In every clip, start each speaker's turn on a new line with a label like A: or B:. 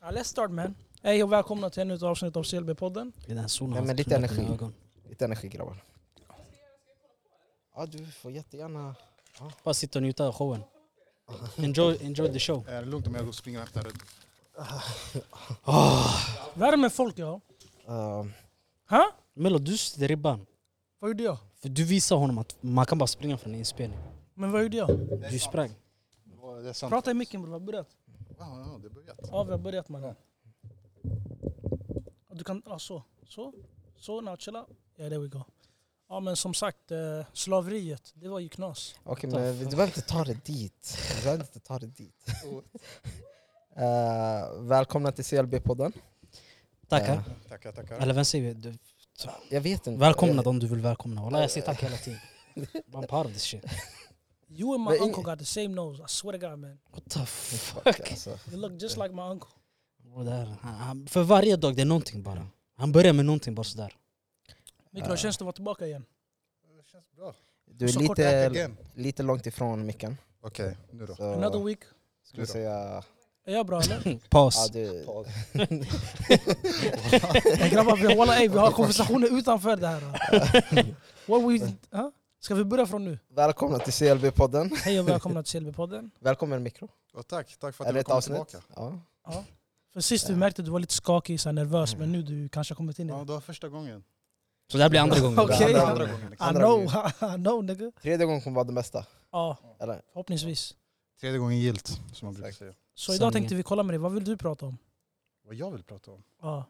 A: Ja, let's start man. Hej och välkomna till ännu ett avsnitt av CLB-podden.
B: I den här solen
C: Nej,
B: har
C: men lite
B: knäppt mina
C: energi.
B: ögon.
C: Lite energi grabbar. Ja du får jättegärna.
B: Bara sitta och njuta av showen. Enjoy, enjoy the show.
D: Är det lugnt om jag går och springer efter dig?
A: Värme folk jag.
C: Uh,
A: Ha?
B: Melo, du sitter i ribban.
A: Vad gjorde jag?
B: För du visar honom att man kan bara springa från en inspelning.
A: Men vad gjorde jag?
B: Du sprang.
D: Det är sant.
A: Prata i micken bror, vi har börjat.
D: Ja, ja, det är börjat.
A: Ja vi har börjat mannen. Ja, Du kan, ja så. Så, så, now chilla. Ja there we go. Ja men som sagt, eh, slaveriet, det var ju knas.
C: Okej
B: Ta
C: men
B: för-
C: du behöver inte ta det dit. Du behöver inte ta det dit. Eh, välkomna till CLB-podden.
B: Tackar.
D: Tackar, tackar.
B: Eller vem säger vi? Du-
C: Jag vet inte.
B: Välkomna om du vill välkomna. Wallah, jag säger tack hela tiden. I'm part of this shit.
A: You and my
C: Men ing-
A: uncle got the same nose, I swear to god man.
B: What the
C: Eh,
B: fuck?
C: fuck, alltså.
A: You look just like my uncle.
B: Bro, det här, han, han, för varje dag det är någonting bara. Han börjar med någonting bara sådär.
A: Mikael, hur känns det att vara tillbaka igen?
D: Det känns bra.
C: Du är
A: Så kort
D: Back
C: lite,
D: again.
C: lite långt ifrån micken.
D: Okej, nu då.
C: Så
A: Another week.
C: skulle jag
D: då.
C: säga...
A: Är jag bra eller?
C: Ja,
B: Paus.
C: du,
A: Nej grabbar, vi, wallah, ey, vi har konversationer utanför det här. What we, ha? Ska vi börja från nu?
C: välkomna till CLB-podden.
A: Hej och välkomna till CLB-podden.
C: Välkommen mikro.
D: Och tack, tack för
C: Är
D: att
C: det
D: jag
C: ett
D: kom
C: avsnitt?
D: tillbaka.
C: Ja.
A: För sist vi märkte att du var lite skakig, så här nervös, men nu du kanske har kommit in i
D: Ja,
A: det.
D: det var första gången.
B: Så det här blir andra gången.
A: Okej.
D: Det
C: ja.
D: var andra gången. Liksom.
A: I
C: andra
A: know, I know nigga.
C: Tredje gången kommer vara det bästa.
A: Ja,
C: Eller?
A: förhoppningsvis.
D: Tredje gången gilt, som man brukar
C: Exakt.
D: säga.
A: Så idag
B: Sanningen.
A: tänkte vi kolla med dig, vad vill du prata om?
D: Vad jag vill prata om?
A: Ja.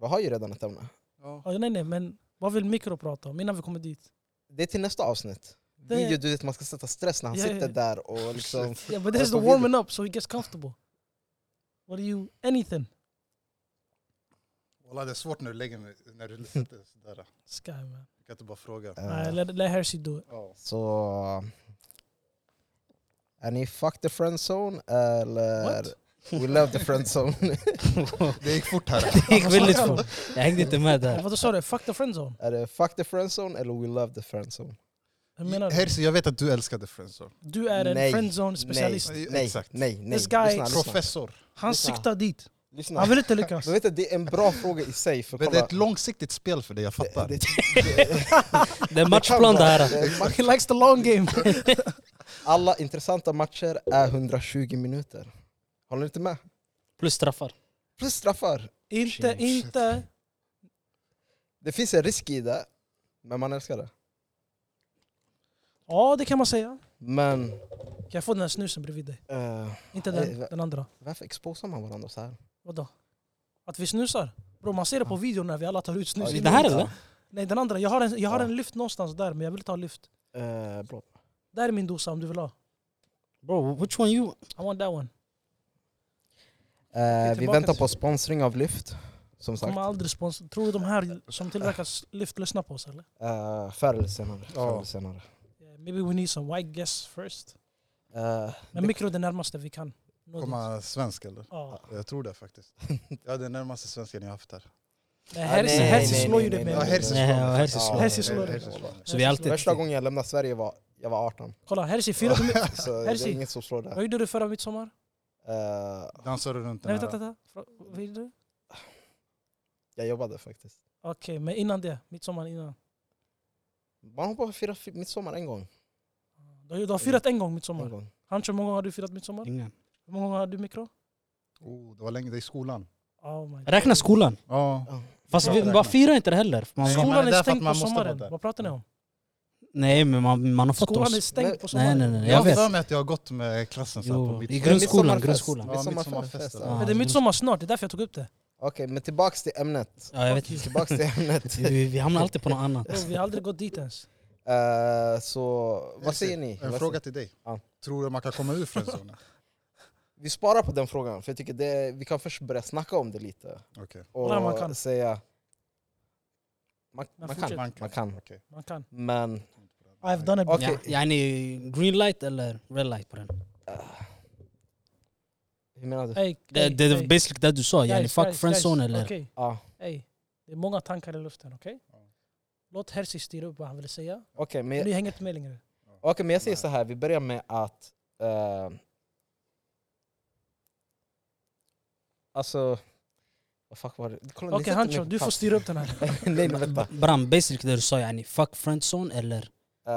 C: Vi har ju redan ett ämne.
D: Ja.
A: Ja, nej nej, men vad vill Mikro prata om innan vi kommer dit?
C: Det är till nästa avsnitt.
A: Det-
C: Video, du vet man ska sätta stress när han
A: Ja, ja,
C: sitter
A: ja.
C: där och liksom...
A: Yeah, but this is the
C: Vad vill du?
A: warming up, so he gets comfortable. What are you, anything?
D: Walla, det är svårt när du lägger mig- när du sitter sådär. Du
A: Sky man.
D: kan inte bara fråga.
C: eh,
A: Nej, let, let Hersey do it.
D: Ja.
C: Så... Är ni fuck the friend zone eller...
A: What?
C: We love the friend zone.
D: Det gick fort här.
B: Det gick väldigt fort. Jag hängde inte med
A: Ja,
B: där.
A: Vadå sa du? Fuck the friendzone?
C: är det fuck the friend zone eller we love the friend zone?
A: Jag menar, du?
D: Herzi, jag vet att du älskade Friendzone.
A: du är en
C: Nej,
A: friendzone-specialist.
C: Nej, nej,
D: Exakt.
C: nej, nej.
A: This guy-
C: lyssna, lyssna.
D: Professor.
A: Han
C: lyssna.
A: siktar dit.
C: lyssna.
A: Han vill inte lyckas.
C: Men vet du, det är en bra fråga i sig. För
D: Men
C: kolla,
D: det är ett långsiktigt spel för dig, jag fattar.
C: det-
B: Det är matchplan det här.
C: det är match-
A: He likes the long game.
C: alla intressanta matcher är 120 minuter. Håller ni inte med?
B: Plus straffar.
C: Plus straffar.
A: inte,
B: Shit.
A: inte.
C: Det finns en risk i det, men man älskar det.
A: Ja, det kan man säga.
C: Men
A: Kan jag få den här snusen bredvid dig?
C: eh,
A: Inte
C: Nej,
A: den,
C: va-
A: den andra.
C: varför exposar man varandra så här?
A: Vadå? Att vi snusar? Bro, man ser det på videon när vi alla tar ut snus.
B: Det här eller?
A: Nej, den andra. Jag har, en, jag har
C: Ja.
A: en lyft någonstans där, men jag vill inte ha lyft.
C: Eh, blå.
A: Där är min dosa om du vill ha.
B: Bro, which one you...
A: I want that one.
C: Eh, vi
A: tillbaka
C: väntar
A: till-
C: på sponsring av Lyft, som sagt.
A: Kommer aldrig spons. Tror du de här som tillverkar s- lyft lyssnar på oss eller?
C: Eh, förr eller senare. Förr eller senare.
A: Yeah, maybe we need some white guests first.
C: Eh,
A: Men mikro är det närmaste vi kan. nå dit.
D: Komma svensk eller?
A: Ja.
D: Jag tror det faktiskt. Ja, det är närmaste svensken jag har haft här.
A: Nej, Herzi-
C: nej,
A: Herzi
C: nej,
A: slår
C: nej,
A: ju det
C: nej,
D: Ja,
C: nej.
A: med.
D: Herzi slår
B: Nej,
D: mig
B: ja,
D: faktiskt.
B: Herzi slår
C: Ja,
B: mig.
A: Herzi slår
D: Herzi
A: dig.
D: slår mig.
B: Så vi är alltid...
C: Värsta gången jag lämnade Sverige var jag var 18.
A: Kolla, Herzi, fyra på mig.
C: Så det
A: Herzi.
C: är inget som slår det.
A: Vad gjorde du förra midsommar?
C: Eh,
D: Dansar du runt
A: Nej,
D: den
A: vänta,
D: här?
A: vänta. Fra- Vad gjorde du?
C: jag jobbade faktiskt.
A: Okej, men innan det. Midsommar innan.
C: Man har bara firat fi- midsommar en gång.
A: Du har, du har firat en gång
C: En
A: midsommar.
C: gång.
A: Hancho, hur många gånger har du firat midsommar?
B: Ingen.
A: Hur många gånger har du mikro?
D: Oh, det var länge, det är i skolan.
A: Oh my god.
B: Räkna skolan.
D: Ja.
B: Fast vi, bara firar inte det heller. för Man,
D: Nej, men
A: Skolan är
D: det är för att
A: stängd på
D: man måste vara
A: sommaren.
D: där.
A: Vad pratar ni om?
B: nej men man, man har fått
A: Skolan är
B: oss.
A: stängd på
B: Nej
A: sommaren.
B: nej nej,
D: Jag
B: jag
D: har
B: vet.
D: för mig att jag har gått med klassen så här
B: Jo,
D: på
B: i
D: mitt...
B: grundskolan.
C: Midsommarfest.
B: grundskolan.
D: Ja,
C: Midsommarfest.
D: midsommarfest,
C: ja.
B: ja.
A: Men det är midsommar snart, det är därför jag tog upp det.
C: Okej, men tillbaks till ämnet.
B: Ja, jag vet.
C: Tillbaks till ämnet.
B: Vi, vi hamnar alltid på något annat.
A: Bro, vi har aldrig gått dit ens.
C: Eh, så vad säger ni?
D: En
C: Vad
D: fråga
C: säger-
D: till dig.
C: Ja.
D: Tror du man kan komma ur friendzonen?
C: Vi sparar på den frågan, för jag tycker det, vi kan först börja snacka om det lite.
D: Okej.
C: Och
A: Ja, man kan.
C: säga... Man,
A: Men
C: man,
A: fortsätt.
C: kan, man kan.
D: Okej.
A: Man kan.
C: Men
A: I've done it.
C: Okej.
B: Ja, ja, ni, green light eller red light på den?
C: eh, hur menar du?
A: Ey,
B: Det,
A: ey,
B: det är
A: ey.
B: basically det du sa, yani
A: Guys,
B: fuck
A: guys,
B: friendzone
A: guys.
B: eller...
A: Okej,
C: Ja,
A: ey. Det är många tankar i luften, okej?
D: Ja.
A: Låt Herzi styra upp vad han vill säga.
C: Okej, men
A: Nu hänger inte med längre.
C: Okej, men jag säger så här. Vi börjar med att... eh, Alltså... Vad fuck var det? Kolla, ni
A: Okej
C: sätter mig
A: Hancho,
C: på
A: du får
C: plats.
A: styra upp den här.
C: Nej, men vänta.
B: Bram, basically det du sa yani, fuck friendzone eller?
C: Uh,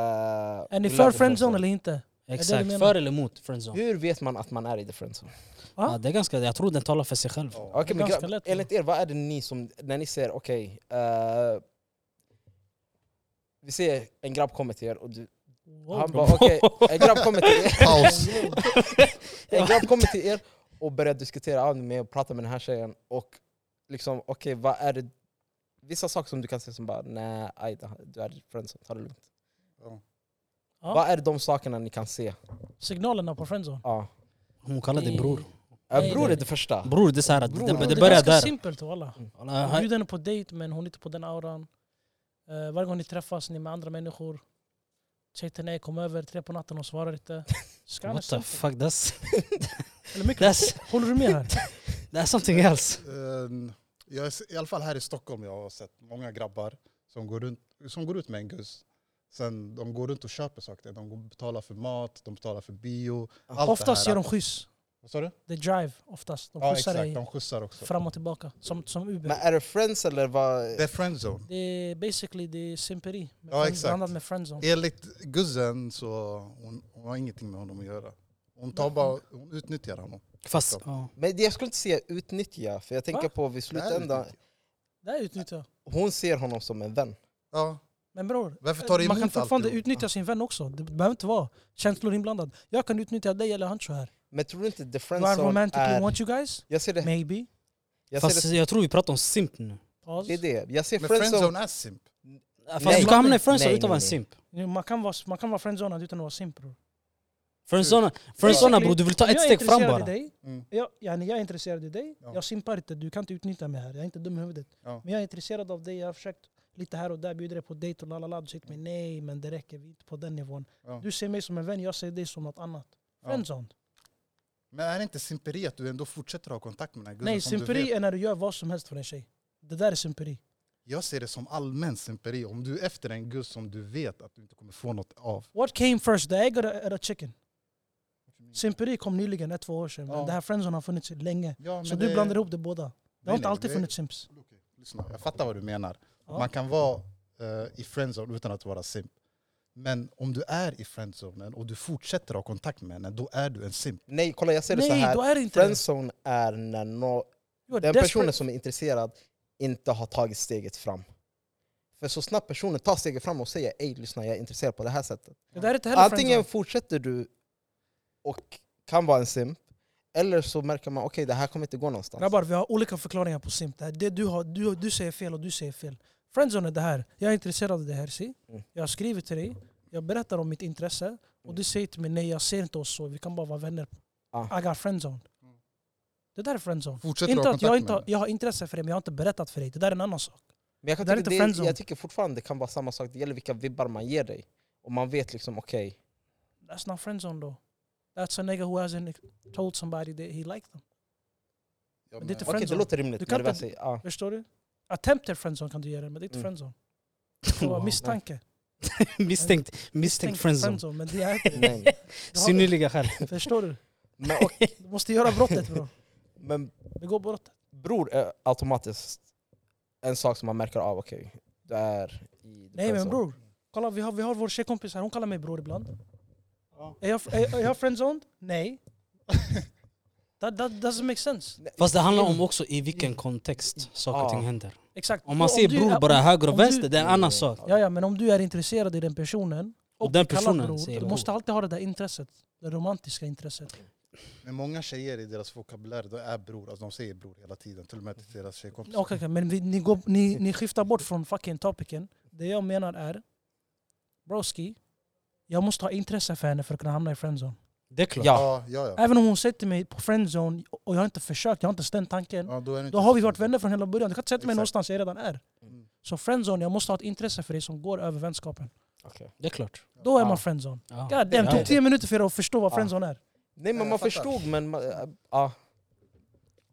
A: Är ni för friendzone eller inte? det du
B: Exakt,
A: menar?
B: för eller emot friendzone?
C: Hur vet man att man är i the friendzone?
A: Ja.
B: Ja, det är ganska, jag tror den talar för sig själv.
D: Ja.
C: Okej
A: Det är
C: men
A: ganska
C: grabbar,
A: lätt, va?
C: enligt er, vad är det ni som, när ni säger okej, eh, vi ser en grabb kommer till er och du, han bara okej, en grabb kommer till er,
D: Paus.
C: en grabb kommer till er och börjar diskutera ah, med och prata med den här tjejen och liksom okej vad är det, vissa saker som du kan säga som bara nej, aj, det här- du är i friendzone, ta det lugnt.
D: Ja.
A: Ja.
C: Vad är de sakerna ni kan se?
A: Signalerna på friendzone.
C: Ja.
B: Hon kallar dig bror.
C: Eh,
A: Nej,
C: bror
A: nej.
C: är det första.
B: Bror, det är såhär,
D: Bror,
B: det, det,
A: det
B: det
A: är
B: börjar
A: ganska
B: där.
A: simpelt walla.
B: Alla-
A: Du bjuder henne på dejt men hon är inte på den auran. Eh, varje gång ni träffas, ni är med andra människor. Säg till nej, kom över tre på natten och svarar inte. Ska
B: What the fuck, that's,
A: Eller mycket.
B: that's,
A: Håller du med här?
B: that's something else.
D: Eh, jag, har se- I alla fall här i Stockholm jag har sett många grabbar som går, runt, som går ut med en gus. Sen de går runt och köper saker. De går- betalar för mat, de betalar för bio. Allt
A: Oftast
D: det
A: gör
D: här.
A: de skjuts.
D: Vad sa du?
A: Det är drive oftast. De
D: Ja
A: skjutsar
D: exakt,
A: dig
D: de skjutsar också.
A: fram och tillbaka. Som, som Uber.
C: Men är det friends eller vad?
D: Det är friendzone.
A: Det är basically det är simperi. med
D: Ja,
A: friends-
D: exakt.
A: Blandat med friendzone.
D: Enligt guzzen så hon, hon har ingenting med honom att göra. Hon, tar bara, hon utnyttjar honom.
B: Fast, ja.
C: Men jag skulle inte säga utnyttja, för jag tänker
A: Va?
C: på vid
D: Det är
C: slutändan,
D: utnyttjande.
A: Det här utnyttjar jag.
C: hon ser honom som en vän.
D: Ja,
A: Men bror,
D: varför tar du
A: man
D: emot
A: kan fortfarande
D: alltihop?
A: utnyttja sin vän också. Det behöver inte vara känslor inblandad. Jag kan utnyttja dig eller Hancho här.
C: Men tror du inte the
A: Do I
C: friend zone
A: romantically
C: är...
A: want you guys?
C: Jag ser det,
A: Maybe.
C: jag ser
B: Fast
C: det,
B: jag tror vi pratar om simp nu.
A: Pause.
C: det är det. Jag ser
D: Men
C: friend zone,
D: friendzone är simp.
B: Fast
C: Nej.
B: du kan hamna i friendzone
C: Nej,
B: utan att vara en
C: nej,
B: simp.
A: Nu, Man kan vara, man kan vara friendzonad utan att vara simp bror.
B: Friendzone, friendzone
A: Basically,
B: bror, du vill ta ett
A: jag är
B: steg fram
A: intresserad i
B: bara.
A: Dig.
D: Mm.
A: Jag, yani, jag är intresserad i dig,
D: Ja.
A: jag simpar inte, du kan inte utnyttja mig här, jag är inte dum i huvudet.
D: Ja.
A: Men jag är intresserad av dig, jag har försökt lite här och där, bjuder dig på dejt och lalala, du säger till mig nej men det räcker, vi är inte på den nivån.
D: Ja.
A: Du ser mig som en vän, jag ser dig som något annat.
D: Ja.
A: Friendzone.
D: Men är det inte simperi att du ändå fortsätter ha kontakt med den här guzzen?
A: Nej,
D: som du vet?
A: simperi är när du gör vad som helst för en tjej. Det där är simperi.
D: Jag ser det som allmän simperi. Om du är efter en guzz som du vet att du inte kommer få något av.
A: What came first, the egg or the, or the chicken? Simperi kom nyligen, ett, två år sedan,
D: Ja.
A: men det här friendzone har funnits länge.
D: Ja, men
A: Så
D: det-
A: du blandar ihop det båda. Det
D: Nej,
A: har inte
D: nej,
A: alltid
D: det-
A: funnits simps.
D: Okej, lyssna. Jag fattar vad du menar.
A: Ja.
D: Man kan vara eh, i friendzone utan att vara simp. Men om du är i friendzonen och du fortsätter ha kontakt med henne, då är du en simp.
C: nej kolla jag ser det så
A: Nej, då
C: här.
A: är det inte det.
C: friend zone är när no,
A: You are
C: den
A: desperate.
C: personen som är intresserad inte har tagit steget fram. För så snabbt personen tar steget fram och säger ej lyssna jag är intresserad på det här sättet.
A: Det där är inte heller
C: Antingen
A: friendzone.
C: fortsätter du och kan vara en simp, eller så märker man okej det här kommer inte gå någonstans.
A: Grabbar, vi har olika förklaringar på simp. Det, här, det du, har, du, du säger fel och du säger fel. Friendzone är det här. Jag är intresserad av det här, si.
C: Mm.
A: Jag skriver till dig, jag berättar om mitt intresse och
C: Mm.
A: du säger till mig nej, jag ser inte oss så, vi kan bara vara vänner.
C: Ah.
A: I got friendzone. Det där är friendzone.
D: Fortsätter
A: Inte
D: ha
A: att
D: kontakt
A: jag,
D: med
A: inte, har-
D: henne.
A: jag har intresse för dig, men jag har inte berättat för dig. Det där är en annan sak.
C: Men jag, kan
A: Det här är inte
C: tycka det,
A: friendzone.
C: jag tycker fortfarande det kan vara samma sak, det gäller vilka vibbar man ger dig. Och man vet liksom okej,
A: That's not friendzone though. That's a nigga who hasn't told somebody that he liked them.
D: Ja,
A: men det är inte
C: okej det
A: Friendzone.
C: låter rimligt.
A: Du
C: Du
A: kan
C: kan när det
A: inte-
C: väl säger, ja.
A: Förstår du? Attempted friendzone kan du göra, men det är inte
C: Mm.
A: friendzone. Det får vara
B: Wow.
A: misstanke.
B: Misstänkt, misstänkt friendzone.
A: friendzone. Men det är inte det.
C: nej, nej.
A: Du har-
B: Synnerliga skäl.
A: Förstår du?
C: Men, och,
A: Du måste göra brottet bro.
C: men
A: Begå brottet.
C: bror är automatiskt en sak som man märker av, okej, du är i
A: Nej men
C: friendzone.
A: bror. Kolla vi har, vi har vår tjejkompis här, hon kallar mig bror ibland.
D: Ja.
A: Är jag, är, är jag friendzoned? Nej. that, that doesn't make sense.
C: Nej,
B: Fast det handlar om också i vilken kontext saker och ting händer.
A: Exakt.
B: Om man ser
A: du-
B: bror bara höger
A: om
B: och
A: du-
B: vänster, det är en annan sak.
A: Ja, ja, men om du är intresserad i den personen och,
B: Och den
A: kallar
B: personen
A: bror,
B: säger
A: du
B: bror.
A: måste alltid ha det där intresset. Det romantiska intresset.
D: Men många tjejer i deras vokabulär, de är bror. Alltså, de säger bror hela tiden, till och med till deras tjejkompisar.
A: Okej, okej, men vi, ni, går, ni, ni skiftar bort från fucking topicen. Det jag menar är, broski, jag måste ha intresse för henne för att kunna hamna i friendzone.
B: Det är klart.
C: Ja.
D: Ja, ja, ja.
A: Även om hon säger till mig på friendzone och jag har inte försökt, jag har inte ställt tanken.
D: ja då, är det
A: Då
D: inte-
A: har vi varit vänner från hela början. Du kan inte sätta mig
D: Exakt.
A: någonstans jag redan är.
D: Mm.
A: Så friendzone, jag måste ha ett intresse för dig som går över vänskapen.
C: okej.
B: Det är klart.
A: Då är
C: Ja.
A: man friendzone.
B: Ja.
A: God damn, det
C: Ja.
A: tog tio minuter för er att förstå vad
C: Ja.
A: friendzone är.
C: Nej men
D: Jag
C: man
D: fattar.
C: förstod men, man- ja.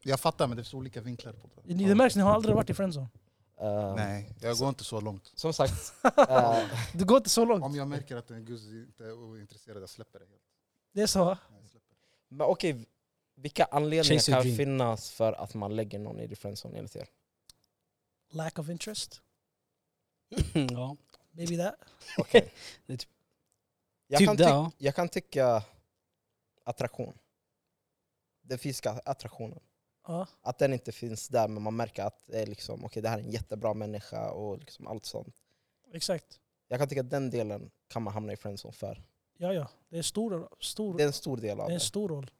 D: Jag fattar, men det finns olika vinklar på det.
A: Ni- Det märks, ni har aldrig varit i friendzone.
C: eh,
D: Nej, jag går inte så långt.
C: Som sagt, eh,
A: Det går inte så långt.
D: Om jag märker att en guzz inte är intresserad, jag släpper det. helt.
A: Det är så.
D: Jag släpper.
C: Men okej, Vilka anledningar
B: Chase your
C: kan
B: dream.
C: finnas för att man lägger någon i the friendzone enligt er?
A: Lack of interest?
B: ja.
A: Maybe that?
C: Okej.
B: Det är typ-
C: jag,
B: typ
C: kan
B: det,
C: tyck-
B: ja.
C: jag kan tycka attraktion. Den fysiska attraktionen.
A: Ja.
C: Att den inte finns där men man märker att det, är liksom, okay, det här är en jättebra människa och liksom allt sånt.
A: Exakt.
C: Jag kan tycka att den delen kan man hamna i friendzone för.
A: Ja, ja. Det är stor, stor,
C: Det är en stor del av
A: det är
C: det.
A: en stor roll.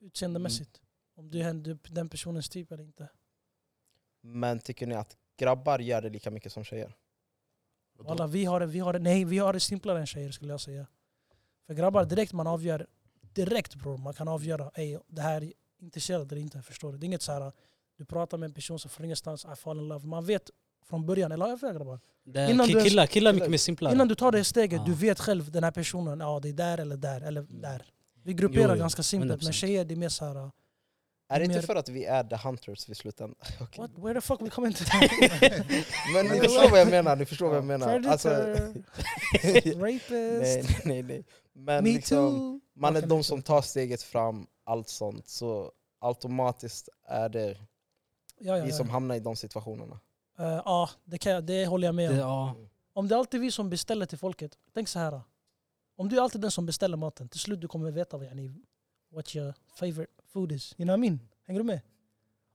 A: Utseendemässigt.
C: Mm.
A: Om du är du- den personens typ eller inte.
C: Men tycker ni att grabbar gör det lika mycket som tjejer?
D: Vadå?
A: Alla, vi, har, det- vi, har, det- nej, vi har det simplare än tjejer skulle jag säga. För grabbar,
C: Mm.
A: direkt man avgör, direkt bror, man kan avgöra, ey, det här är intresserad eller inte, förstår du? Det är inget så här, du pratar med en person som från ingenstans, I fall in love. Man vet från början, eller hur grabbar?
B: Det är
A: Innan
B: ki-
A: du ens-
B: killar, killar är mycket mer simplare.
A: Innan du tar det steget,
B: Mm. Ja.
A: du vet själv den här personen, ja det är där eller där, eller
B: Mm.
A: där. Vi grupperar
B: Jo, jo,
A: ganska simpelt, men
B: 100%.
A: tjejer det är mer såhär,
C: Är det
A: Mer-
C: inte för att vi är the hunters vid slutändan? Okej.
A: what, where the fuck we coming to?
C: Men ni förstår vad jag menar, ni förstår vad jag menar.
A: Predator,
C: Alltså,
A: rapist,
C: nej, nej, nej. Men
A: me
C: liksom,
A: too.
C: man är
A: Okej,
C: de
A: liksom.
C: som tar steget fram, allt sånt. Så automatiskt är det
A: Ja, ja,
C: vi som
A: ja.
C: hamnar i de situationerna.
A: Eh, ja det, kan jag, det håller jag med
B: det,
A: om.
B: ja.
A: Om det är alltid vi som beställer till folket, tänk så här. Om du är alltid den som beställer maten, till slut du kommer veta vad, yani, what your favorite food is. You know what I mean? Hänger du med?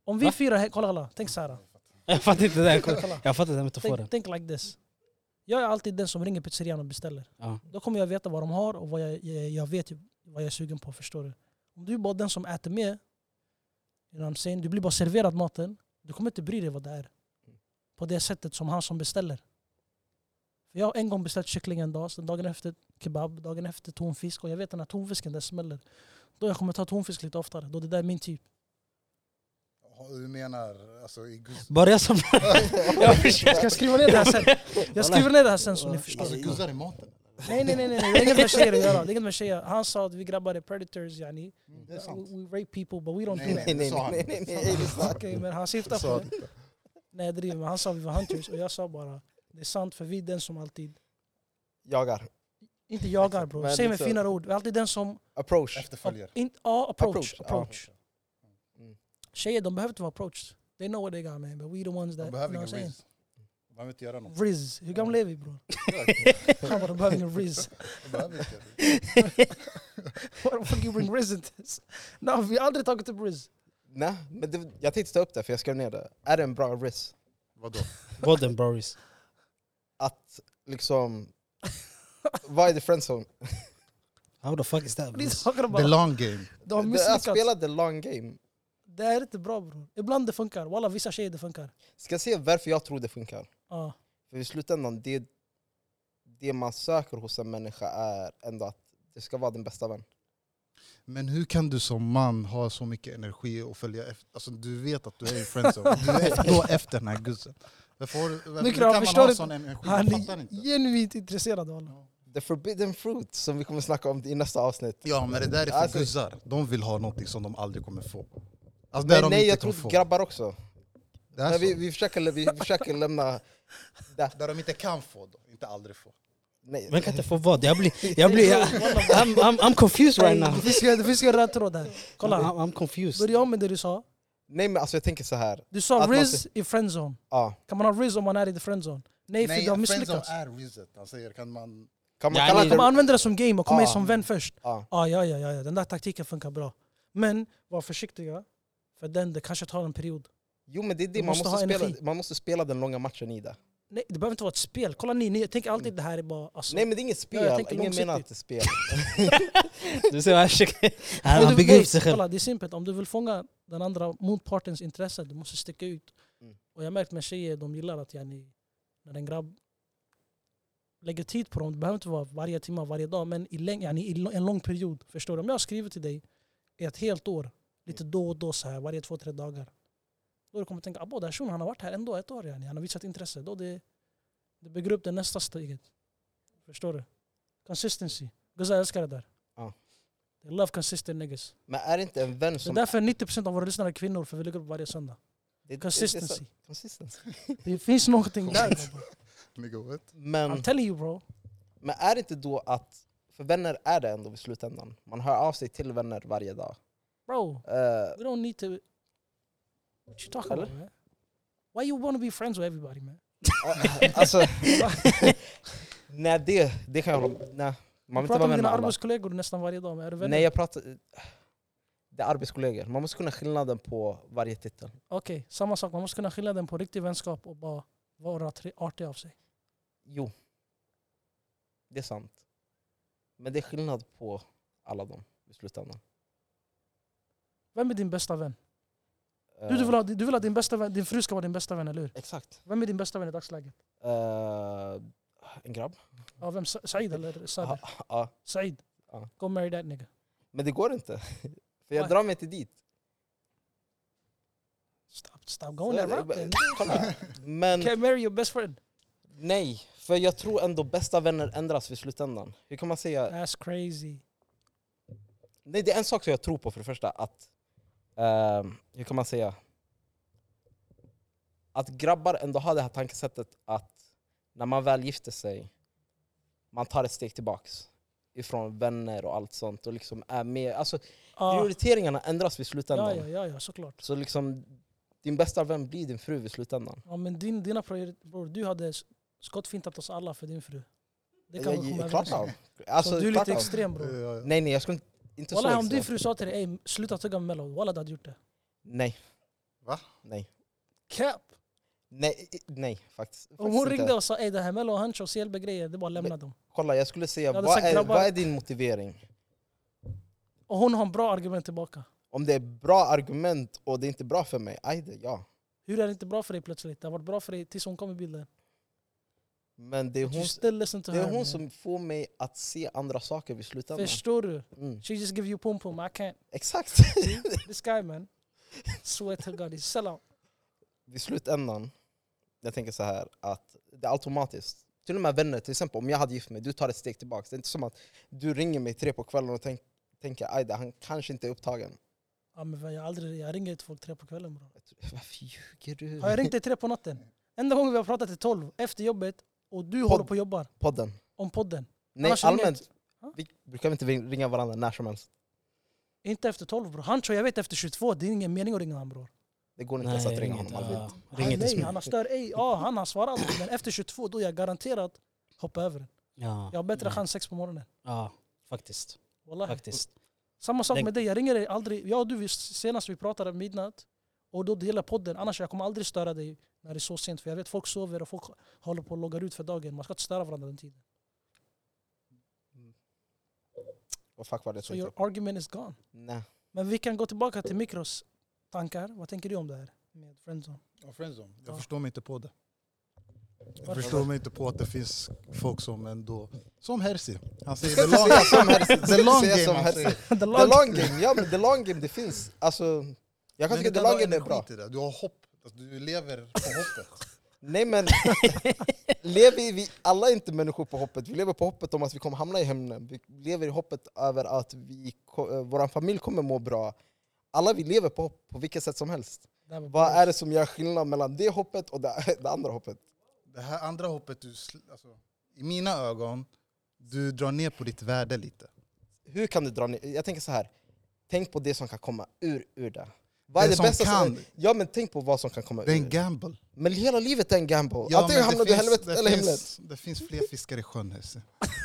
A: Om vi
B: Va?
A: fyra, he- kolla kolla, tänk så här.
B: Jag fattar inte den.
A: Kolla.
B: Jag fattar den metaforen.
A: Tänk, tänk like this. Jag är alltid den som ringer pizzerian och beställer.
B: Ja.
A: Då kommer jag veta vad de har och vad jag, jag, jag vet ju vad jag är sugen på, förstår du? Om du är bara den som äter med, you know what I'm saying? du blir bara serverad maten, du kommer inte bry dig vad det är. På det sättet som han som beställer. För jag har en gång beställt kyckling en dag, sen dagen efter kebab, dagen efter tonfisk och jag vet den här tonfisken, den smäller. Då jag kommer ta tonfisk lite oftare, då det där är min typ.
D: Du menar alltså i gus-
B: Bara jag som... jag försöker.
A: Ska jag skriva ner det här sen? Jag skriver ner det här sen så ni förstår.
D: alltså, guzzar i maten?
A: Nej nej nej, nej, nej. det är inget med tjejer att göra. Det är inget med tjejer. Han sa att vi grabbar är predators yani. Uh,
D: Mm, Det är sant.
A: We, we rape people but we don't
D: Nej,
A: do
D: nej, det sa han
C: nej,
D: inte.
C: nej, nej, det sa
A: that.
C: han.
A: Okej men han
D: Det
A: syftar
D: sa
A: på
D: han
A: det.
D: inte.
A: Nej jag driver, men han sa vi var hunters Oh, och jag sa bara det är sant för vi är den som alltid,
C: Jagar.
A: inte jagar bror,
C: Men
A: säg med
C: liksom-
A: finare ord. Vi är alltid den som,
C: Approach.
D: Efterföljer.
A: in, ja approach.
C: Approach, ja.
A: approach.
C: Mm.
A: Tjejer de behöver inte vara approached. They know what they got man but we the ones that,
D: De
A: you
D: behöver
A: know what I'm
D: ingen
A: saying.
D: risk. De behöver inte göra något.
A: Riz, hur gammal är vi bror? Han bara de behöver ingen riz.
D: De behöver inte.
A: What the fuck you bring riz into this? No, vi har aldrig tagit upp riz.
C: Nej, men det, jag tänkte ta upp det för jag skrev ner det. Är det en bra risk?
D: Vadå?
B: Golden Boris.
C: Att liksom... Vad är the friendzone?
B: How the fuck is that?
A: Ni
B: Boris?
A: saker
D: The
A: bara,
D: long game.
A: de har
C: Jag
A: misslyckats.
C: spelade the long game.
A: Det är inte bra bror. Ibland det funkar, walla vissa tjejer det funkar.
C: Ska se varför jag tror det funkar.
A: Ja,
C: För i slutändan, det, det man söker hos en människa är ändå att det ska vara din bästa vän.
D: Men hur kan du som man ha så mycket energi och följa efter? Alltså du vet att du är i friendzone. Du är då efter den här gussen. Varför, har du- varför
A: Nikra,
D: hur kan man
A: förstår
D: ha
A: du?
D: sån energi?
A: han
D: Jag fattar
A: är
D: inte.
A: genuint intresserad walla.
C: The forbidden fruit som vi kommer snacka om i nästa avsnitt.
D: Ja men det där är för
C: Alltså-
D: guzzar. De vill ha någonting som de aldrig kommer få. Alltså det
C: Nej,
D: de
C: nej
D: inte
C: jag
D: kan
C: tror
D: få.
C: grabbar också.
D: Det är
C: Nej,
A: Alltså.
C: vi,
D: så.
C: vi, försöker, lä- vi försöker lämna...
D: Där de inte kan få, då. inte aldrig få.
C: Nej.
B: Man kan inte få vad? Jag blir... Jag blir jag, I'm, I'm, I'm confused right now.
A: Det finns ju- det finns ju en röd tråd här. Kolla,
B: I'm, I'm confused.
A: börja om med det du sa.
C: nej men alltså jag tänker så här.
A: Du
C: Att
A: sa
C: man
A: Riz i friendzone.
C: Ja.
A: Kan man ha Riz om man är i the friendzone? Nej, för
D: Nej,
A: du har
D: friendzone
A: misslyckats.
D: är reason. Han säger kan man...
C: Kan man
B: Ja,
C: kalla
B: nej.
A: Kan man
C: det...
A: använda det som game och komma
D: Ah.
A: in
C: Ja.
A: som vän först?
C: Ja.
A: Ah, ja, ja, ja, ja, den där taktiken funkar bra. Men var försiktiga, för den det kanske tar en period.
C: Jo men det är det,
A: Du
C: man
A: måste
C: måste,
A: ha
C: spela,
A: energi.
C: man måste spela den långa matchen i det.
A: Nej, det behöver inte vara ett spel. Kolla ni, ni tänker alltid det här är bara... Alltså,
C: Nej men det är inget spel,
A: Ja, jag tänker
C: ingen menar att
A: långsiktigt.
C: det är spel.
B: Du ser vad han försöker...
A: Om
B: Han,
A: du-
B: han bygger
A: nej,
B: upp sig själv.
A: Kolla, det är simpelt. Om du vill fånga den andra motpartens intresse, du måste sticka ut.
C: Mm.
A: Och jag har märkt med tjejer, de gillar att yani, när en grabb lägger tid på dem, det behöver inte vara varje timme, varje dag, men i, läng- yani, i lo- en lång period. Förstår du? Om jag skriver till dig i ett helt år, lite då och då så här, varje två, tre dagar. Då du kommer tänka, abo den här shunon han har varit här ändå ett år, yani. han har visat intresse. Då det, det bygger upp det nästa steget. Förstår du? Consistency. Guzzar jag älskar det där.
C: Ja.
A: They love consistent niggas.
C: Men är det inte en vän
A: Det är
C: som...
A: därför 90% av våra lyssnare är kvinnor, för vi lägger upp varje söndag.
C: det- det- det är så-
A: Consistency.
C: Consistency.
A: Det finns någonting där.
D: Nigga, what?
C: Men...
A: I'm telling you bro.
C: Men är det inte då att, för vänner är det ändå i slutändan, man hör av sig till vänner varje dag.
A: Bro,
C: Eh,
A: we don't need to... What you talking about man? Why you wanna be friends with everybody man?
C: alltså, nej det, det kan jag hålla med Nej, man
A: Man
C: vill inte vara
A: pratar med dina
C: vän med alla.
A: arbetskollegor nästan varje dag. Men är du vän?
C: Nej jag pratar... Det är arbetskollegor. Man måste kunna skillnaden på varje titel.
A: Okej, samma sak. Man måste kunna skilja den på riktig vänskap och bara vara tre- artig av sig.
C: Jo. Det är sant. Men det är skillnad på alla dem i slutändan.
A: Vem är din bästa vän? Du, du, vill ha, du vill ha din bästa vän, din fru ska vara din bästa vän, eller hur?
C: Eh, Exakt.
A: Vem är din bästa vän i dagsläget?
C: Eh, en grabb.
A: Ja, vem? Sa- Said eller Sader?
C: Ja.
A: Said.
C: Ja.
A: Go marry that nigga.
C: Men det går inte. För
A: Why?
C: jag drar mig inte dit.
A: Stop, stop going that
C: Så-
A: route. man.
C: Kolla. Men
A: Can't marry your best friend.
C: nej, för jag tror ändå bästa vänner ändras vid slutändan. Hur kan man säga
A: That's crazy.
C: Nej, det är en sak som jag tror på för det första. Att, ehm, hur kan man säga? Att grabbar ändå har det här tankesättet att när man väl gifter sig, man tar ett steg tillbaks ifrån vänner och allt sånt. Och liksom är med. Alltså,
A: Ah,
C: Prioriteringarna ändras vid
A: ja,
C: slutändan.
A: ja, ja, ja, såklart.
C: Så liksom, din bästa vän blir din fru vid slutändan.
A: Ja, men din, dina priori- bror, du hade s- skottfintat oss alla för din fru. Det
C: Jag-
A: kan vi komma
C: jag- klart
A: överens om.
C: av. Alltså,
A: Så Du är
C: klart
A: lite
C: av.
A: extrem bror.
D: Ja, ja.
C: Nej, nej, jag skulle inte... inte
A: Walla
C: så
A: om din
C: extremt.
A: fru sa till dig "Ey, sluta tugga med mellan, walla du hade gjort det.
C: Nej.
D: Va?
C: Nej.
A: Cap!
C: Nej, i- nej faktiskt.
A: Om hon
C: faktiskt inte.
A: ringde och sa ey det här mellan hunch och CLB grejer, det är bara att lämna dem.
C: Kolla, jag skulle säga,
A: Jag hade
C: vad
A: sagt
C: är,
A: grabbar.
C: vad är din motivering?
A: Och hon har en bra argument tillbaka.
C: Om det är bra argument och det är inte bra för mig, aj det, ja.
A: Hur är det inte bra för dig plötsligt? Det har varit bra för dig tills hon kom i bilden.
C: Men det är
A: You
C: hon,
A: still listen to
C: det
A: her.
C: är hon
A: man.
C: som får mig att se andra saker vid slutändan.
A: Förstår du?
C: Mm.
A: She just give you pum pum, I can't.
C: Exakt!
A: This guy man. Swear to God, he's sell out.
C: vid slutändan, jag tänker så här att det är automatiskt. Till och med vänner, till exempel om jag hade gift mig, du tar ett steg tillbaka. Det är inte som att du ringer mig tre på kvällen och tänk, tänker aj det, han kanske inte är upptagen.
A: Ja, men jag, har aldrig, jag ringer inte folk tre på kvällen bror.
C: Varför ljuger du?
B: Mm.
A: Har jag ringt dig tre på natten? Enda gången vi har pratat är tolv, efter jobbet. Och du håller på och jobbar
C: Podden.
A: om podden.
C: Nej,
A: Annars ringer jag
C: allmänt.
A: Ja.
C: Vi brukar vi inte ringa varandra när som helst?
A: Inte efter tolv bror. Hunch och jag vet efter 22, det är ingen mening att ringa honom bror.
C: Det går inte
B: Nej,
C: ens att
B: ring
C: ringa
B: inte.
C: honom. aldrig.
B: Ja,
A: Han,
B: ring inte
A: nej,
B: till
A: han har stör ej. Ja, han har svarat. Men efter 22 då är jag garanterat hoppa över den.
B: Ja.
A: Jag har bättre
B: Ja.
A: chans sex på morgonen.
B: Ja, faktiskt.
A: Wallahi.
B: Mm. faktiskt.
A: Samma sak
B: Det-
A: med dig. Jag ringer dig aldrig. Jag och du, vi- senast vi pratade midnatt och då delar podden. Annars jag kommer aldrig störa dig när det är så sent. För jag vet folk sover och folk håller på och loggar ut för dagen. Man ska inte störa varandra den tiden.
C: Vad fuck var det jag
A: Så
C: tänkte
A: your
C: på?
A: argument is gone.
C: Nej.
A: Men vi kan gå tillbaka till Mikros tankar. Vad tänker du om det här med friendzone?
D: Och friendzone. Jag
A: Ja.
D: förstår mig inte på det. Jag
A: Varför?
D: förstår mig inte på att det finns folk som ändå... Som Herzi. Han säger the long,
C: Säga som helst.
D: the long
C: Säga
D: game.
C: som
D: han
C: helst.
D: säger.
A: The
C: The
A: long-
C: long game, ja men the long game det finns. Alltså, jag kan tycka
D: Men du
C: the
D: kan
C: long
D: ha
C: game är
D: energi
C: bra.
D: till Det. Du har hopp. Alltså, du lever på hoppet.
C: Nej men, lever vi alla är inte människor på hoppet? Vi lever på hoppet om att vi kommer hamna i himlen. Vi lever i hoppet över att vi, ko- eh, vår familj kommer må bra. Alla vi lever på hopp på vilket sätt som helst.
A: Det här var
C: Vad
A: bra.
C: är det som gör skillnad mellan det hoppet och det, det andra hoppet?
D: Det här andra hoppet, du, sl- alltså, i mina ögon, du drar ner på ditt värde lite.
C: Hur kan du dra ner? Jag tänker så här. tänk på det som kan komma ur, ur det. Vad är det,
D: som
C: bästa
D: kan,
C: som... Ja men tänk på vad som kan komma
D: det är en
C: ur.
D: gamble.
C: Men hela livet är en gamble.
D: Ja,
C: Antingen
D: men det
C: hamnar du i
D: finns-
C: helvetet
D: det
C: eller
D: finns-
C: himlen.
D: Det finns fler fiskar i sjön. Hesse.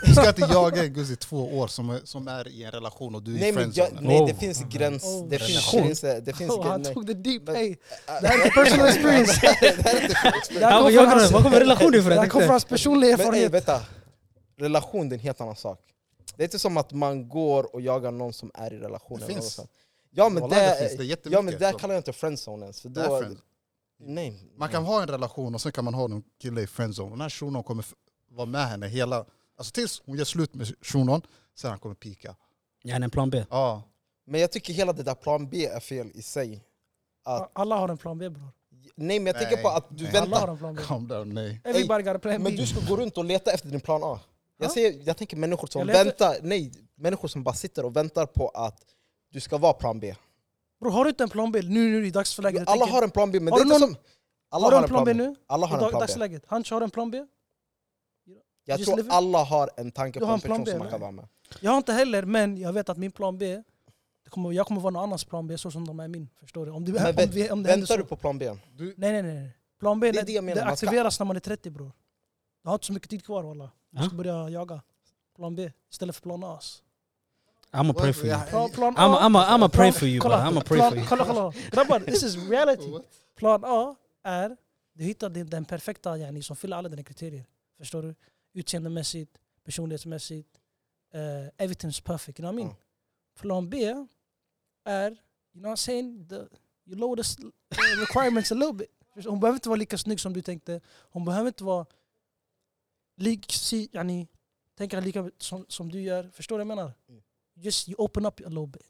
D: Du ska inte jaga en guzz i två år som är, som är i en relation och du är
C: Nej,
D: i
C: men
D: friendzone.
C: jag, nej, det
B: Oh.
C: finns gräns.
A: Oh.
C: Det finns
B: Relation.
C: gränser. Det finns
A: Oh, han
C: gränser.
A: tog det deep.
C: Men-
A: Hey, det här är personal experience.
C: det här är inte
A: Det
B: Ja,
A: här
B: men
A: kom
B: jag
A: från hans-
B: undrar, var kommer relationen ifrån?
A: det här
B: Jag
A: kom från
B: tänkte-
A: hans personliga
C: Men ey,
A: erfarenhet.
C: vänta. Relation det är en helt annan sak. Det är inte som att man går och jagar någon som är i relation.
D: Det
C: eller
D: finns.
C: något sånt. Ja men,
D: Wallah,
C: det,
D: det finns. Det är
C: ja,
D: jättemycket.
C: men där kallar jag inte friendzone ens. För
D: Det är
C: då,
D: friend.
C: nej.
D: Man kan ha en relation och sen kan man ha en kille i friendzone. Den här shunon kommer f- vara med henne hela... Alltså tills hon gör slut med shunon, sen han kommer pika.
B: Jag har en plan B.
D: Ja,
C: Men jag tycker hela det där plan B är fel i sig. att-
A: Alla har en plan B bror.
C: Nej men jag tänker
D: Nej,
C: på att du
D: nej.
A: Alla
C: väntar.
A: har en plan B.
D: calm down, nej.
A: Everybody got a plan
C: Men
A: B.
C: du ska gå runt och leta efter din plan A.
A: Eh, Ja.
C: Jag, säger, jag tänker människor som
A: Jag letar-
C: väntar, nej, människor som bara sitter och väntar på att du ska vara plan B.
A: Bror har du inte en plan B nu, nu i dagsläget? Jag
C: alla
A: tänker-
C: har en plan B, men
A: Har
C: det är
A: du
C: inte
A: någon-
C: som... Alla
A: har du en plan B nu?
C: Alla
A: I
C: har en
A: dag,
C: plan B.
A: dagsläget? Hanch har en plan B?
C: Jag
A: Just
C: tror
A: live-
C: alla har en tanke
A: Du
C: på
A: har
C: en
A: en plan
C: person
A: B,
C: som man
A: nej.
C: kan vara med.
A: Jag har inte heller, men jag vet att min plan B Det kommer, jag kommer vara någon annans plan B så som de är min. Förstår du? Om det,
C: Men
A: om
C: vänt-
A: vi, om det händer så.
C: Väntar du på plan B?
D: Du,
A: Nej nej nej, nej. Plan B
C: Det
A: det,
C: är det jag menar,
A: det
C: man ska-
A: aktiveras när man är 30 bror. Du har inte så mycket tid kvar walla. Du
B: Ja.
A: ska börja jaga. Plan B istället för plan A. alltså.
B: I'ma pray for you.
A: Plan, plan A.
B: I'ma, I'ma, I'ma pray
A: plan-
B: for you
A: kolla,
B: bara. I'ma pray for
A: plan,
B: you.
A: kolla, kolla. Grabbar, this is reality. Plan A är du hittar den, den perfekta yani, som fyller alla dina kriterier. Förstår du? Utseendemässigt, personlighetsmässigt. Uh, everything's perfect. You know what I mean?
C: Ja.
A: Plan B är, you know what I'm saying? The, you lower the s- the requirements a little bit. Förstår du? Hon behöver inte vara lika snygg som du tänkte. Hon behöver inte vara lik, si, yani, tänka lika som, som du gör. Förstår du vad jag menar?
C: Mm.
A: Just you open up a little bit.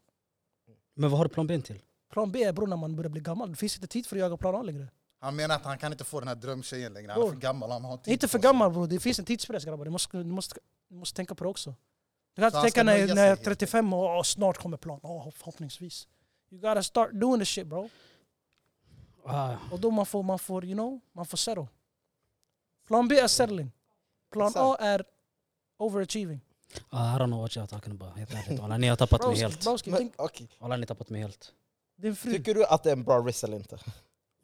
B: Men vad har du plan B till?
A: Plan B är bror när man börjar bli gammal. Det finns inte tid för att jaga plan A längre.
D: Han menar att han kan inte få den här drömtjejen längre, han är för
A: Bror.
D: gammal. Han har tid
A: Inte för
D: på sig.
A: gammal bror, det finns en tidspress grabbar. Du måste, du måste, du måste tänka på det också. Du kan
D: Så
A: inte
D: han
A: tänka
D: ska
A: när,
D: nöja sig
A: när jag är
D: helt
A: 35 och, och snart kommer plan. Oh, förhoppningsvis. You gotta start doing the shit bro.
B: Ah,
A: Och då man får, man får, you know, man får settle. Plan B är settling. Plan A är overachieving.
B: ah, I don't know what you're talking about. Helt ärligt. Walla, ni har tappat mig
A: Broski,
B: helt.
A: broski,
C: Men,
A: tänk
C: okej.
B: Walla, ni har tappat mig helt.
A: din fru.
C: Tycker du att det är en bra risk eller inte?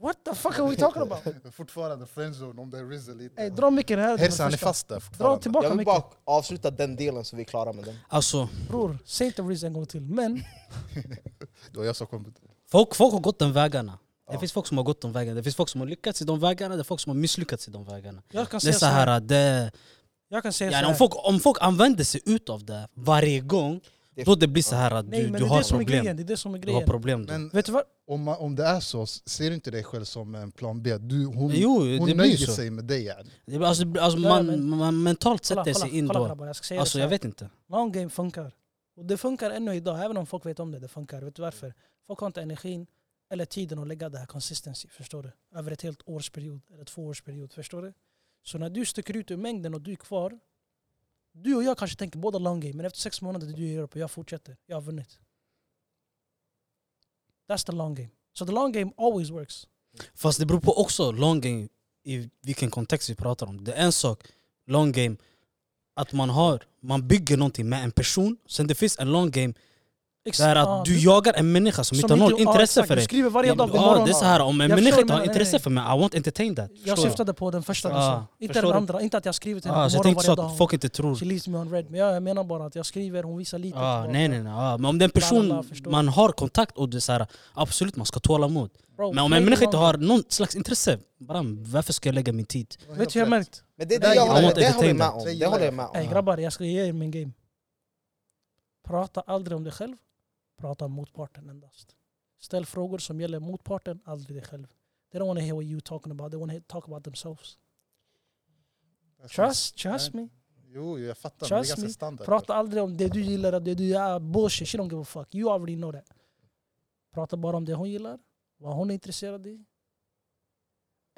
A: What the fuck are we talking about?
D: Fortfarande friendzone om det är Rizzo lite.
A: Ey, dra micken här.
D: Herse, han är
A: Första.
D: fast där
A: Dra
D: fortfarande.
A: tillbaka
C: Jag vill
A: micken.
C: bara avsluta den delen så vi är klara med den.
B: Alltså,
A: Bror, säg inte Riz en gång till. Men
D: Det var jag som kom.
B: folk, folk har gått de vägarna. Det
D: Ja.
B: finns folk som har gått de vägarna. Det finns folk som har lyckats i de vägarna. Det finns folk som har misslyckats i de vägarna.
A: jag kan
B: Det
A: säga
B: är så
A: så här.
B: här, det,
A: Jag kan säga så
B: ja, om,
A: här.
B: folk, om folk använder sig utav det varje gång,
C: Det-
B: då det blir så här att
A: Nej
B: du,
A: men
B: du
A: det är det
B: har
A: som är
B: problem.
A: grejen. Det är det som är
B: Du har
A: grejen.
B: problem. då.
D: Men
A: Vet du vad?
D: om, man, om det är så, ser du inte dig själv som en plan B? Du, hon
B: Jo,
D: hon
B: det blir
D: nöjer
B: ju så.
D: sig med dig. yani.
B: Det blir- Alltså, alltså
A: Ja,
B: man,
A: men-
B: man mentalt
A: Kolla,
B: sätter sig in
A: kolla
B: då.
A: grabbar, jag ska säga
B: Alltså
A: det
B: jag
A: så här.
B: vet inte.
A: Long game funkar. Och det funkar ännu idag, även om folk vet om det. Det funkar. Vet du varför? Folk har inte energin eller tiden att lägga det här consistency, förstår du? Över ett helt årsperiod eller två årsperiod, förstår du? Så när du sticker ut ur mängden och du är kvar, du och jag kanske tänker båda long game, men efter sex månader är du i Europa, jag fortsätter, jag har vunnit. That's the long game. So the long game always works.
B: Fast det beror på också long game i vilken kontext vi pratar om. Det är en sak, long game, att man har, man bygger någonting med en person. Sen det finns en long game
A: Ex-
B: där
A: ja,
B: att du jagar en människa som, inte har något
A: ja,
B: intresse
A: exakt.
B: för
A: Du
B: dig.
A: skriver varje
B: Ja,
A: dag,
B: det är
A: imorgon.
B: så här, om en
A: Jag
B: människa
A: förstår,
B: inte har
A: men-
B: intresse för mig, I won't entertain that.
A: Jag
B: Förstår du?
A: syftade på den första,
B: Ja,
A: alltså. inte
B: förstår
A: den
B: du?
A: andra. Inte att jag skriver till henne
B: Ah, så jag
A: imorgon
B: tänkte så
A: varje dag.
B: att folk inte tror.
A: She leaves me on red. Men jag, jag menar bara att jag skriver, hon visar lite.
B: Ah,
A: tillbaka.
B: nej nej nej. Ah, men om det är en person
A: Lalala, förstår.
B: man har kontakt och det är så här, absolut man ska tåla mod.
A: Bro,
B: Men om
A: play
B: en
A: the
B: människa inte
A: long-
B: har någon slags intresse, bara, varför ska jag lägga min tid?
D: Det var
A: Vet
D: helt
A: du hur jag
D: rätt.
A: märkt?
C: Men det, är
D: Nej,
C: det, jag
D: jag
C: håller,
B: won't
C: det håller jag
B: entertain
C: med
B: that.
C: om.
D: Det
C: Det
D: gillar
C: håller jag
D: jag.
C: med om.
A: Ey grabbar, jag ska ge er min game. Prata aldrig om dig själv. Prata om motparten endast. Ställ frågor som gäller motparten, aldrig dig själv. They don't wanna hear what you talking about, they wanna talk about themselves. Trust, trust me.
D: Jo, jo, jag fattar. men Det är
A: Trust
D: ganska
A: me.
D: standard.
A: Prata aldrig om det du gillar och det du gör. Ah, Bullshit, she don't give a fuck. You already know that. Prata bara om det hon gillar, vad hon är intresserad i.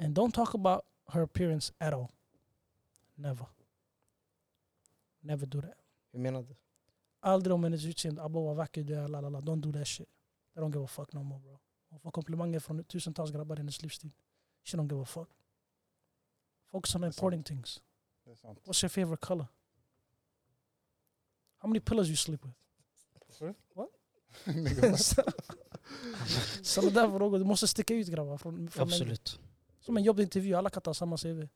A: And don't talk about her appearance at all. Never. Never do that.
C: Hur menar du?
A: Aldrig om hennes utseende. Abba vad vacker du är, la la la. Don't do that shit. They don't give a fuck no more bro. Hon får komplimanger från tusentals grabbar i hennes livsstil. She don't give a fuck. Focus on the
D: Det är sant.
A: important things.
D: Det är sant.
A: What's your favorite color? How many pillows you sleep with? Sådana där frågor. Du måste sticka ut grabbar. Från, från mängden.
B: Absolut.
A: Som en jobbintervju, alla kan ta samma CV.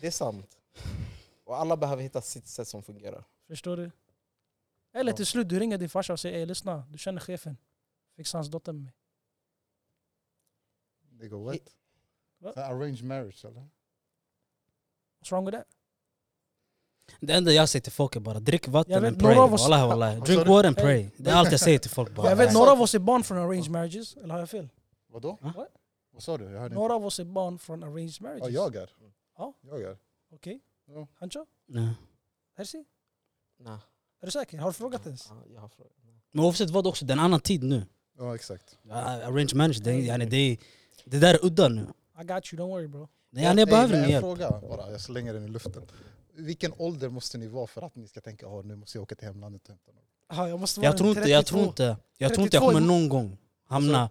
C: Det är sant. Och alla behöver hitta sitt sätt som fungerar.
A: Förstår du? Eller
D: Ja.
A: till slut, du ringer din farsa och säger "Ey, lyssna, du känner chefen. Fixa hans dotter med mig.
D: Det går what?
A: Va?
D: Så här Arranged marriage eller?
A: What's wrong with that?
B: Det enda jag säger till folk är bara drick
A: Jag
B: vatten
A: vet,
B: and
A: några
B: pray.
A: av oss-
B: Wallahi, wallahi.
D: Vad sa
B: Drink
D: du?
B: water and
A: Hey.
B: pray. Det är allt jag säger till folk bara.
A: Jag vet,
D: så-
A: några av oss är barn från arranged marriages, eller har jag fel?
D: Vadå?
B: Va?
D: Vad sa du? Jag hörde inte.
A: Några av oss är barn från arranged
D: Ja,
A: marriages.
D: jag är.
A: Ja.
D: Jag är.
A: Okej?
D: Ja.
A: Hancho?
B: Nej.
A: Hersi?
C: Nej.
A: Är du säker? Har du frågat ens?
C: Ja, jag har frågat.
B: Men oavsett vad också, det är en annan tid nu.
D: Ja, exakt.
B: Arrange manage, det, är- yani, det, är- det där är udda nu.
A: I got you, don't worry bro.
B: Nej, yani, jag
D: Ey,
B: behöver
D: men
B: din
D: en
B: hjälp.
D: fråga bara, jag slänger den i luften. Vilken ålder måste ni vara för att ni ska tänka att nu måste jag åka till hemlandet typ?" och hämta någon?
A: Aha, Ah, jag måste vara
B: Jag tror inte jag, tror
A: 32.
B: inte, jag tror inte jag
A: 32
B: kommer
A: emot.
B: någon gång hamna...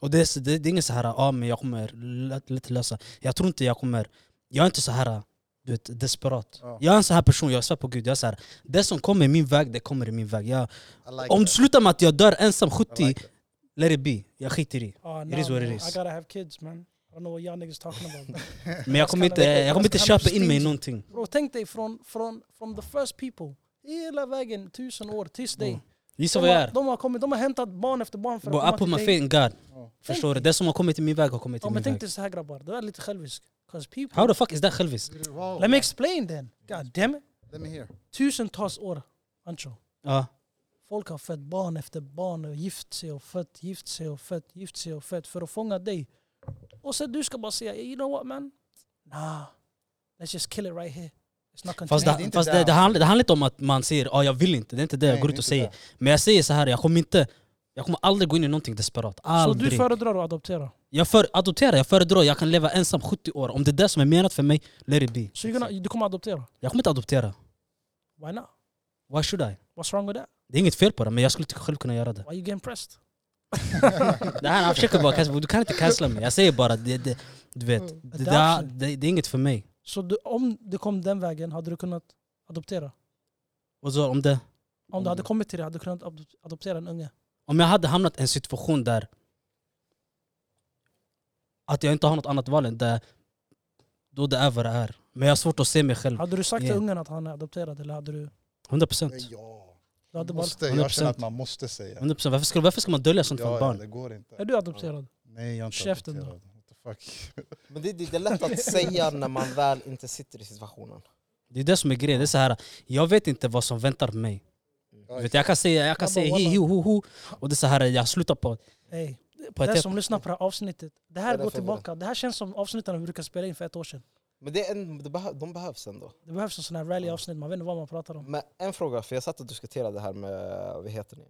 B: Och det, är så- det, det är inget så här, ja men jag kommer lätt, lätt lösa. Jag tror inte jag kommer... Jag är inte så här du vet, desperat.
D: Ja.
B: Jag är en sån här person, jag svär på gud. Jag är så här, det som kommer i min väg, det kommer i min väg. Jag,
D: I like
B: om du
D: that.
B: slutar med att jag dör ensam
D: I
B: 70,
D: like that.
B: let it be. Jag skiter i.
A: Ah,
B: It is what it
A: man,
B: is.
A: I gotta have kids man. I don't know what y'all niggas talking about. man.
B: Men jag kommer inte, jag kommer inte köpa in mig i någonting.
A: Bro, tänk dig från, från from the first people, hela vägen tusen år tills dig.
B: Mm. Gissa
A: De,
B: vad jag
A: har,
B: är.
A: de har kommit, de har hämtat barn efter barn för
B: Bro,
A: att
B: I put
A: komma
B: my
A: till dig.
B: faith in God.
D: Ja.
B: Förstår du? Det som har kommit i min väg har kommit i
A: Ja,
B: min
A: men tänk
B: väg.
A: dig så här grabbar, det där är lite själviskt. 'Cause people...
B: How the fuck is det själviskt?
D: Wow.
A: Let me explain then. God damn it.
D: Let me hear.
A: Tusentals år, Ancho.
B: Ja.
A: Folk har fött barn efter barn och gift sig och fött, gift sig och fött, gift sig och fött för att fånga dig. Och sen du ska bara säga, you know what man? Nah, let's just kill it right here. It's not
B: Fast,
A: contained.
D: det är
B: det,
D: inte
B: fast
D: där.
B: det, det, handlar, det handlar inte om att man säger ah, jag vill inte, det är inte det jag
D: Nej,
B: går ut
D: inte
B: och säger.
D: där.
B: Men jag säger så här, jag kommer inte jag kommer aldrig gå in i någonting desperat.
A: Så
B: Aldrig.
A: du föredrar att adoptera?
B: Jag för, adopterar, jag föredrar, jag kan leva ensam 70 år. Om det är det som är menat för mig, let it be.
A: Så you're gonna, du kommer adoptera?
B: Jag kommer inte adoptera.
A: Why not?
B: Why should I?
A: What's wrong with that?
B: Det är inget fel på det, men jag skulle inte själv kunna göra det.
A: Why you getting pressed?
B: det här, jag försöker bara cancella, du kan inte cancella mig. Jag säger bara, det, det, du vet, Mm. det, där,
A: Adoption.
B: det, det är inget för mig.
A: Så du, om du kom den vägen, hade du kunnat adoptera?
B: Och så, om, det,
A: Om du hade kommit till det, hade du kunnat adop- adoptera en unge?
B: om jag hade hamnat i en situation där att jag inte har något annat val än det, då det är vad det är. Men jag har svårt att se mig själv.
A: Hade du sagt till
B: Yeah.
A: ungen att han är adopterad eller hade du...
B: 100%.
D: Ja.
A: du hade bara,
D: Måste, jag
B: 100%.
D: känner att man måste säga.
B: 100%. Varför, ska, varför ska man dölja sånt
D: Ja,
B: från
D: ja,
B: barn?
D: det går inte.
A: är du adopterad?
D: Nej, jag är inte
A: Käften då.
D: adopterad. What the fuck?
C: Men det, det, det är lätt att säga när man väl inte sitter i situationen.
B: Det är det som är grejen. Det är så här, jag vet inte vad som väntar mig. Du vet, jag kan säga, jag kan
A: Grabbar,
B: säga hi, hi, ho, ho. Och det är så här, jag slutar på,
A: Hey.
B: på
A: Den
B: ett...
A: som lyssnar på det här avsnittet, det här
C: Ja, det är
A: går
C: för
A: tillbaka. Det här känns som avsnitten vi brukade spela in för ett år sedan.
C: Men det är en, det behö, de behövs ändå.
A: Det behövs en sån här rally-avsnitt, man vet inte vad man pratar om.
C: Men en fråga, för jag satt och diskuterade det här med, vad heter ni?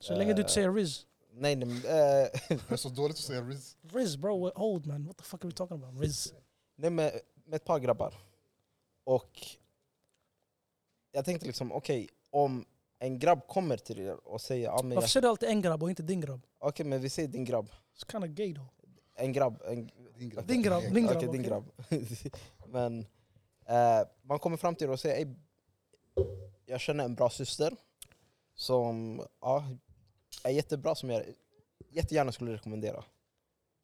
A: Så länge du inte säger Riz.
C: Nej, nej, men, eh,
D: Det är så dåligt att säga Riz.
A: Riz bro, we're old man. What the fuck are we talking about? Riz.
C: nej men, med ett par grabbar. Och jag tänkte liksom, okej, om en grabb kommer till er och säger ja men, jag,
A: Varför säger du alltid en grabb och inte din grabb?
C: okej, men vi säger din grabb,
A: It's kind of gay though.
C: en grabb, en,
D: Din grabb.
A: Din grabb, din
C: Okej,
A: grabb.
C: din
A: okej?
C: grabb. Men eh, man kommer fram till det och säger "Ey, jag känner en bra syster som ja, är jättebra, som jag jättegärna skulle rekommendera.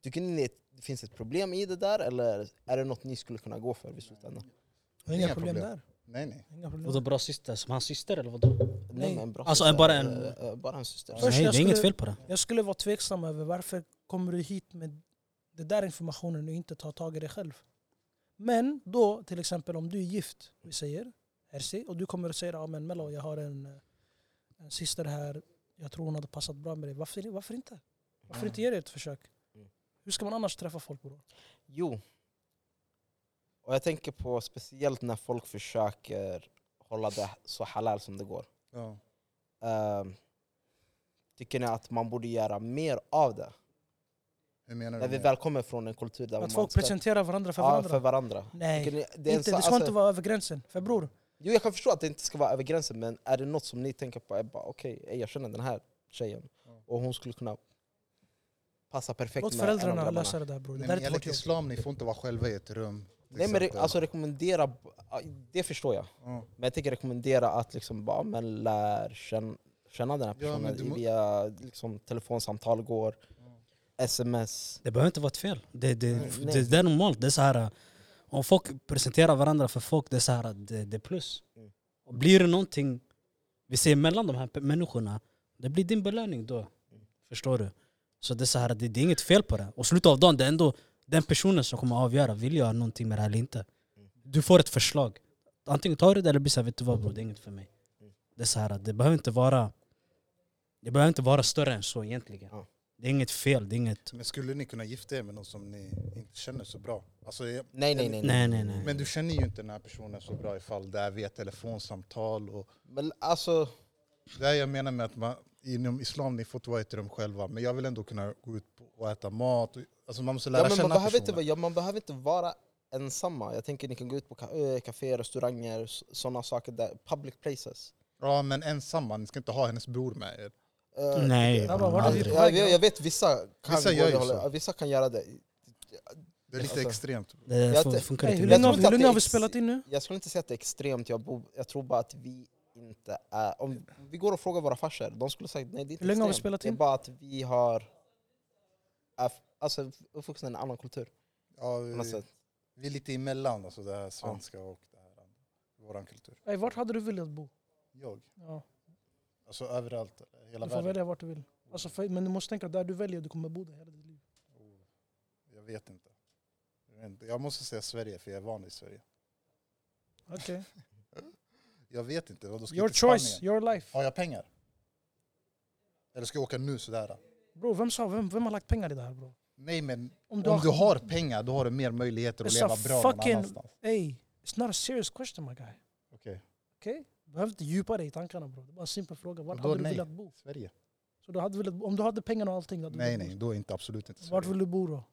C: Tycker ni det- det finns ett problem i det där eller är det något ni skulle kunna gå för i slutändan?
A: Det är Inga
D: Inga
A: problem
D: problem.
A: där.
D: Nej, nej.
A: Inga problem.
B: Vadå bra syster? Som hans syster eller vadå?
A: Nej.
C: Nej, men en bra
B: Alltså,
C: syster,
B: bara en-
C: eh, eh, bara en syster.
A: Först,
B: Nej, det är
A: jag
B: inget
A: skulle-
B: fel på det.
A: Jag skulle vara tveksam över varför kommer du hit med den där informationen och inte tar tag i dig själv. Men då, till exempel om du är gift, vi säger, RC, och du kommer och säger ja men Mello, jag har en, eh, en syster här, jag tror hon hade passat bra med dig. Varför, varför inte? Varför inte ge det ett försök?
C: Mm.
A: Hur ska man annars träffa folk bror?
C: Jo. Och jag tänker på speciellt när folk försöker hålla det så halal som det går.
D: Ja.
C: Ehm, tycker ni att man borde göra mer av det?
D: Hur menar
C: När
D: du?
C: vi
D: med-
C: väl kommer från en kultur där
A: Att
C: man
A: folk presenterar varandra för varandra?
C: Ja, för varandra.
A: Nej,
C: Tycker ni- det är en
A: inte,
C: så-
A: det ska
C: alltså-
A: inte vara över gränsen. För bror,
C: Jo, jag kan förstå att det inte ska vara över gränsen, men är det något som ni tänker på? är bara, Okej, ey, jag känner den här tjejen och hon skulle kunna passa perfekt
A: låt
C: med en av
A: föräldrarna
C: grabbarna."
A: lösa det där bror. Det
D: Nej,
A: där är
D: men
A: inte vårt
D: enligt
A: jobb.
D: islam, ni får inte vara själva i ett rum. till
C: Nej men re-
D: exempel.
C: alltså rekommendera, ja, det förstår jag.
D: Ja.
C: Men jag tänker rekommendera att liksom bara, men lär känna, känna den här
D: Ja, men
C: personen
D: du må-
C: via liksom, telefonsamtal går, sms.
B: Det behöver inte vara ett fel. Det, det,
C: Nej.
B: det, det är normalt. Det är så här, eh, om folk presenterar varandra för folk, det är så här, eh, det, det är plus.
C: Mm.
B: Och blir det någonting vi ser mellan de här pe- människorna, det blir din belöning
C: Mm.
B: då. Förstår du? Så det är, så här, det, det är inget fel på det. Och slutet av dagen, det är ändå den personen som kommer avgöra, vill jag någonting med det här eller inte?
C: Mm.
B: Du får ett förslag. Antingen tar du det eller blir så här, vet du vad bror, det är inget för mig.
C: Mm.
B: Det är så här, det behöver inte vara det behöver inte vara större än så egentligen.
C: Ja.
B: Det är inget fel, det är inget...
D: Men skulle ni kunna gifta er med någon som ni inte känner så bra? Alltså, jag-
C: Nej, nej, nej. nej.
B: Nej nej nej.
D: men du känner ju inte den här personen så bra ifall det är via telefonsamtal. Och
C: Men alltså,
D: det här jag menar med att man, inom islam, ni får inte vara i ett rum själva. Men jag vill ändå kunna gå ut på- och äta mat. och- Alltså, man måste lära
C: ja, men man,
D: känna
C: behöver inte,
D: personen.
C: vara- ja, man behöver inte vara ensamma. Jag tänker ni kan gå ut på ka- eh, kaféer, restauranger, sådana saker där, public places.
D: Ja, men ensamma. Ni ska inte ha hennes bror med er.
C: Eh,
B: Nej,
A: Grabbar, vart är vi
B: aldrig.
A: på
C: Jag,
A: väg?
C: jag, jag vet vissa kan,
D: Vissa
C: gå
D: gör
C: det
D: ju
C: hållet.
D: så.
C: Ja, vissa kan göra det.
D: Det Det är lite
C: Alltså,
D: extremt.
B: Det där
C: Jag
B: fun-
C: vet-
B: funkar
A: Hey, hur
B: inte.
C: Jag
A: länge
C: tror
A: har
B: Jag
A: vi-
C: inte
A: hur
C: att
A: länge
C: det
A: har vi
C: ex-
A: spelat in nu?
C: Jag skulle inte säga att det är extremt, jag, bo, jag tror bara att vi inte är... Om vi går och frågar våra farsor, de skulle säga nej det är inte
A: Hur länge har vi
C: extremt.
A: spelat
C: Det är
A: in?
C: bara att vi har... Är, alltså uppvuxna i en annan kultur.
D: Ja,
C: på något
D: vi,
C: sätt.
D: vi är lite emellan, alltså det här svenska och det här, andra. våran kultur.
A: Hey, vart hade du velat bo?
D: Jag,
A: Ja,
D: alltså överallt, hela
A: du får
D: världen.
A: välja vart du vill. Alltså, för, men du måste tänka, där du väljer du kommer bo där hela ditt liv.
D: Oh, Jag vet inte. Jag vet inte. Jag måste säga Sverige, för jag är van i Sverige.
A: Okej.
D: Jag vet inte. Vadå, ska jag
A: Your
D: till Spanien?
A: choice, your life.
D: Har jag pengar? Eller ska jag åka nu sådär?
A: Bro, vem, sa, vem, vem har lagt pengar i det här bro?
D: Nej men
A: Om
D: om du har pengar då har du mer möjligheter att
A: It's
D: leva
A: a
D: bra
A: fucking-
D: någon annanstans.
A: Hey, it's not a serious question my guy.
D: Okej,
A: Okej? Du behöver inte djupa dig i tankarna bro. Det är bara en simpel fråga. Vart
D: Då
A: hade du
D: nej.
A: velat bo?
D: Sverige.
A: Så du hade velat, bo- om du hade pengarna och allting, då hade du
D: Nej
A: velat
D: nej, då är inte absolut inte
A: bo. Vart
D: Sverige.
A: vill du bo då?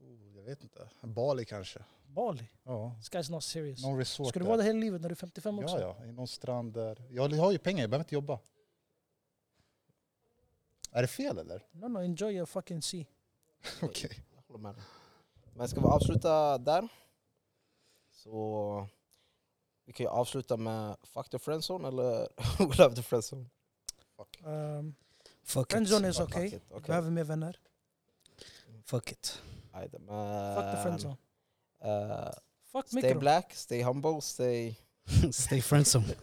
D: Oh, jag vet inte. Bali kanske?
A: Bali?
D: Ja.
A: This guy's not serious.
D: Någon resort
A: Ska du
D: där.
A: vara där hela livet när du är 55 också?
D: Ja ja, i någon strand där. Jag har ju pengar, jag behöver inte jobba. Är det fel eller?
A: No, no, enjoy your fucking sea.
D: Okej.
C: Jag håller med dig. Men ska vi avsluta där? Så vi kan ju avsluta med Fuck the friendzone eller We love the friendzone.
A: Um,
B: Fuck it.
A: friendzone is
C: Fuck
A: okay.
C: it,
A: Du
C: okej.
A: behöver mer vänner.
B: Fuck it.
C: Aj då,
A: Fuck
D: Um,
A: the
C: men,
A: friendzone.
C: eh,
A: Fuck
C: stay
A: mikro.
C: black, stay humble, stay...
B: Stay friendzone.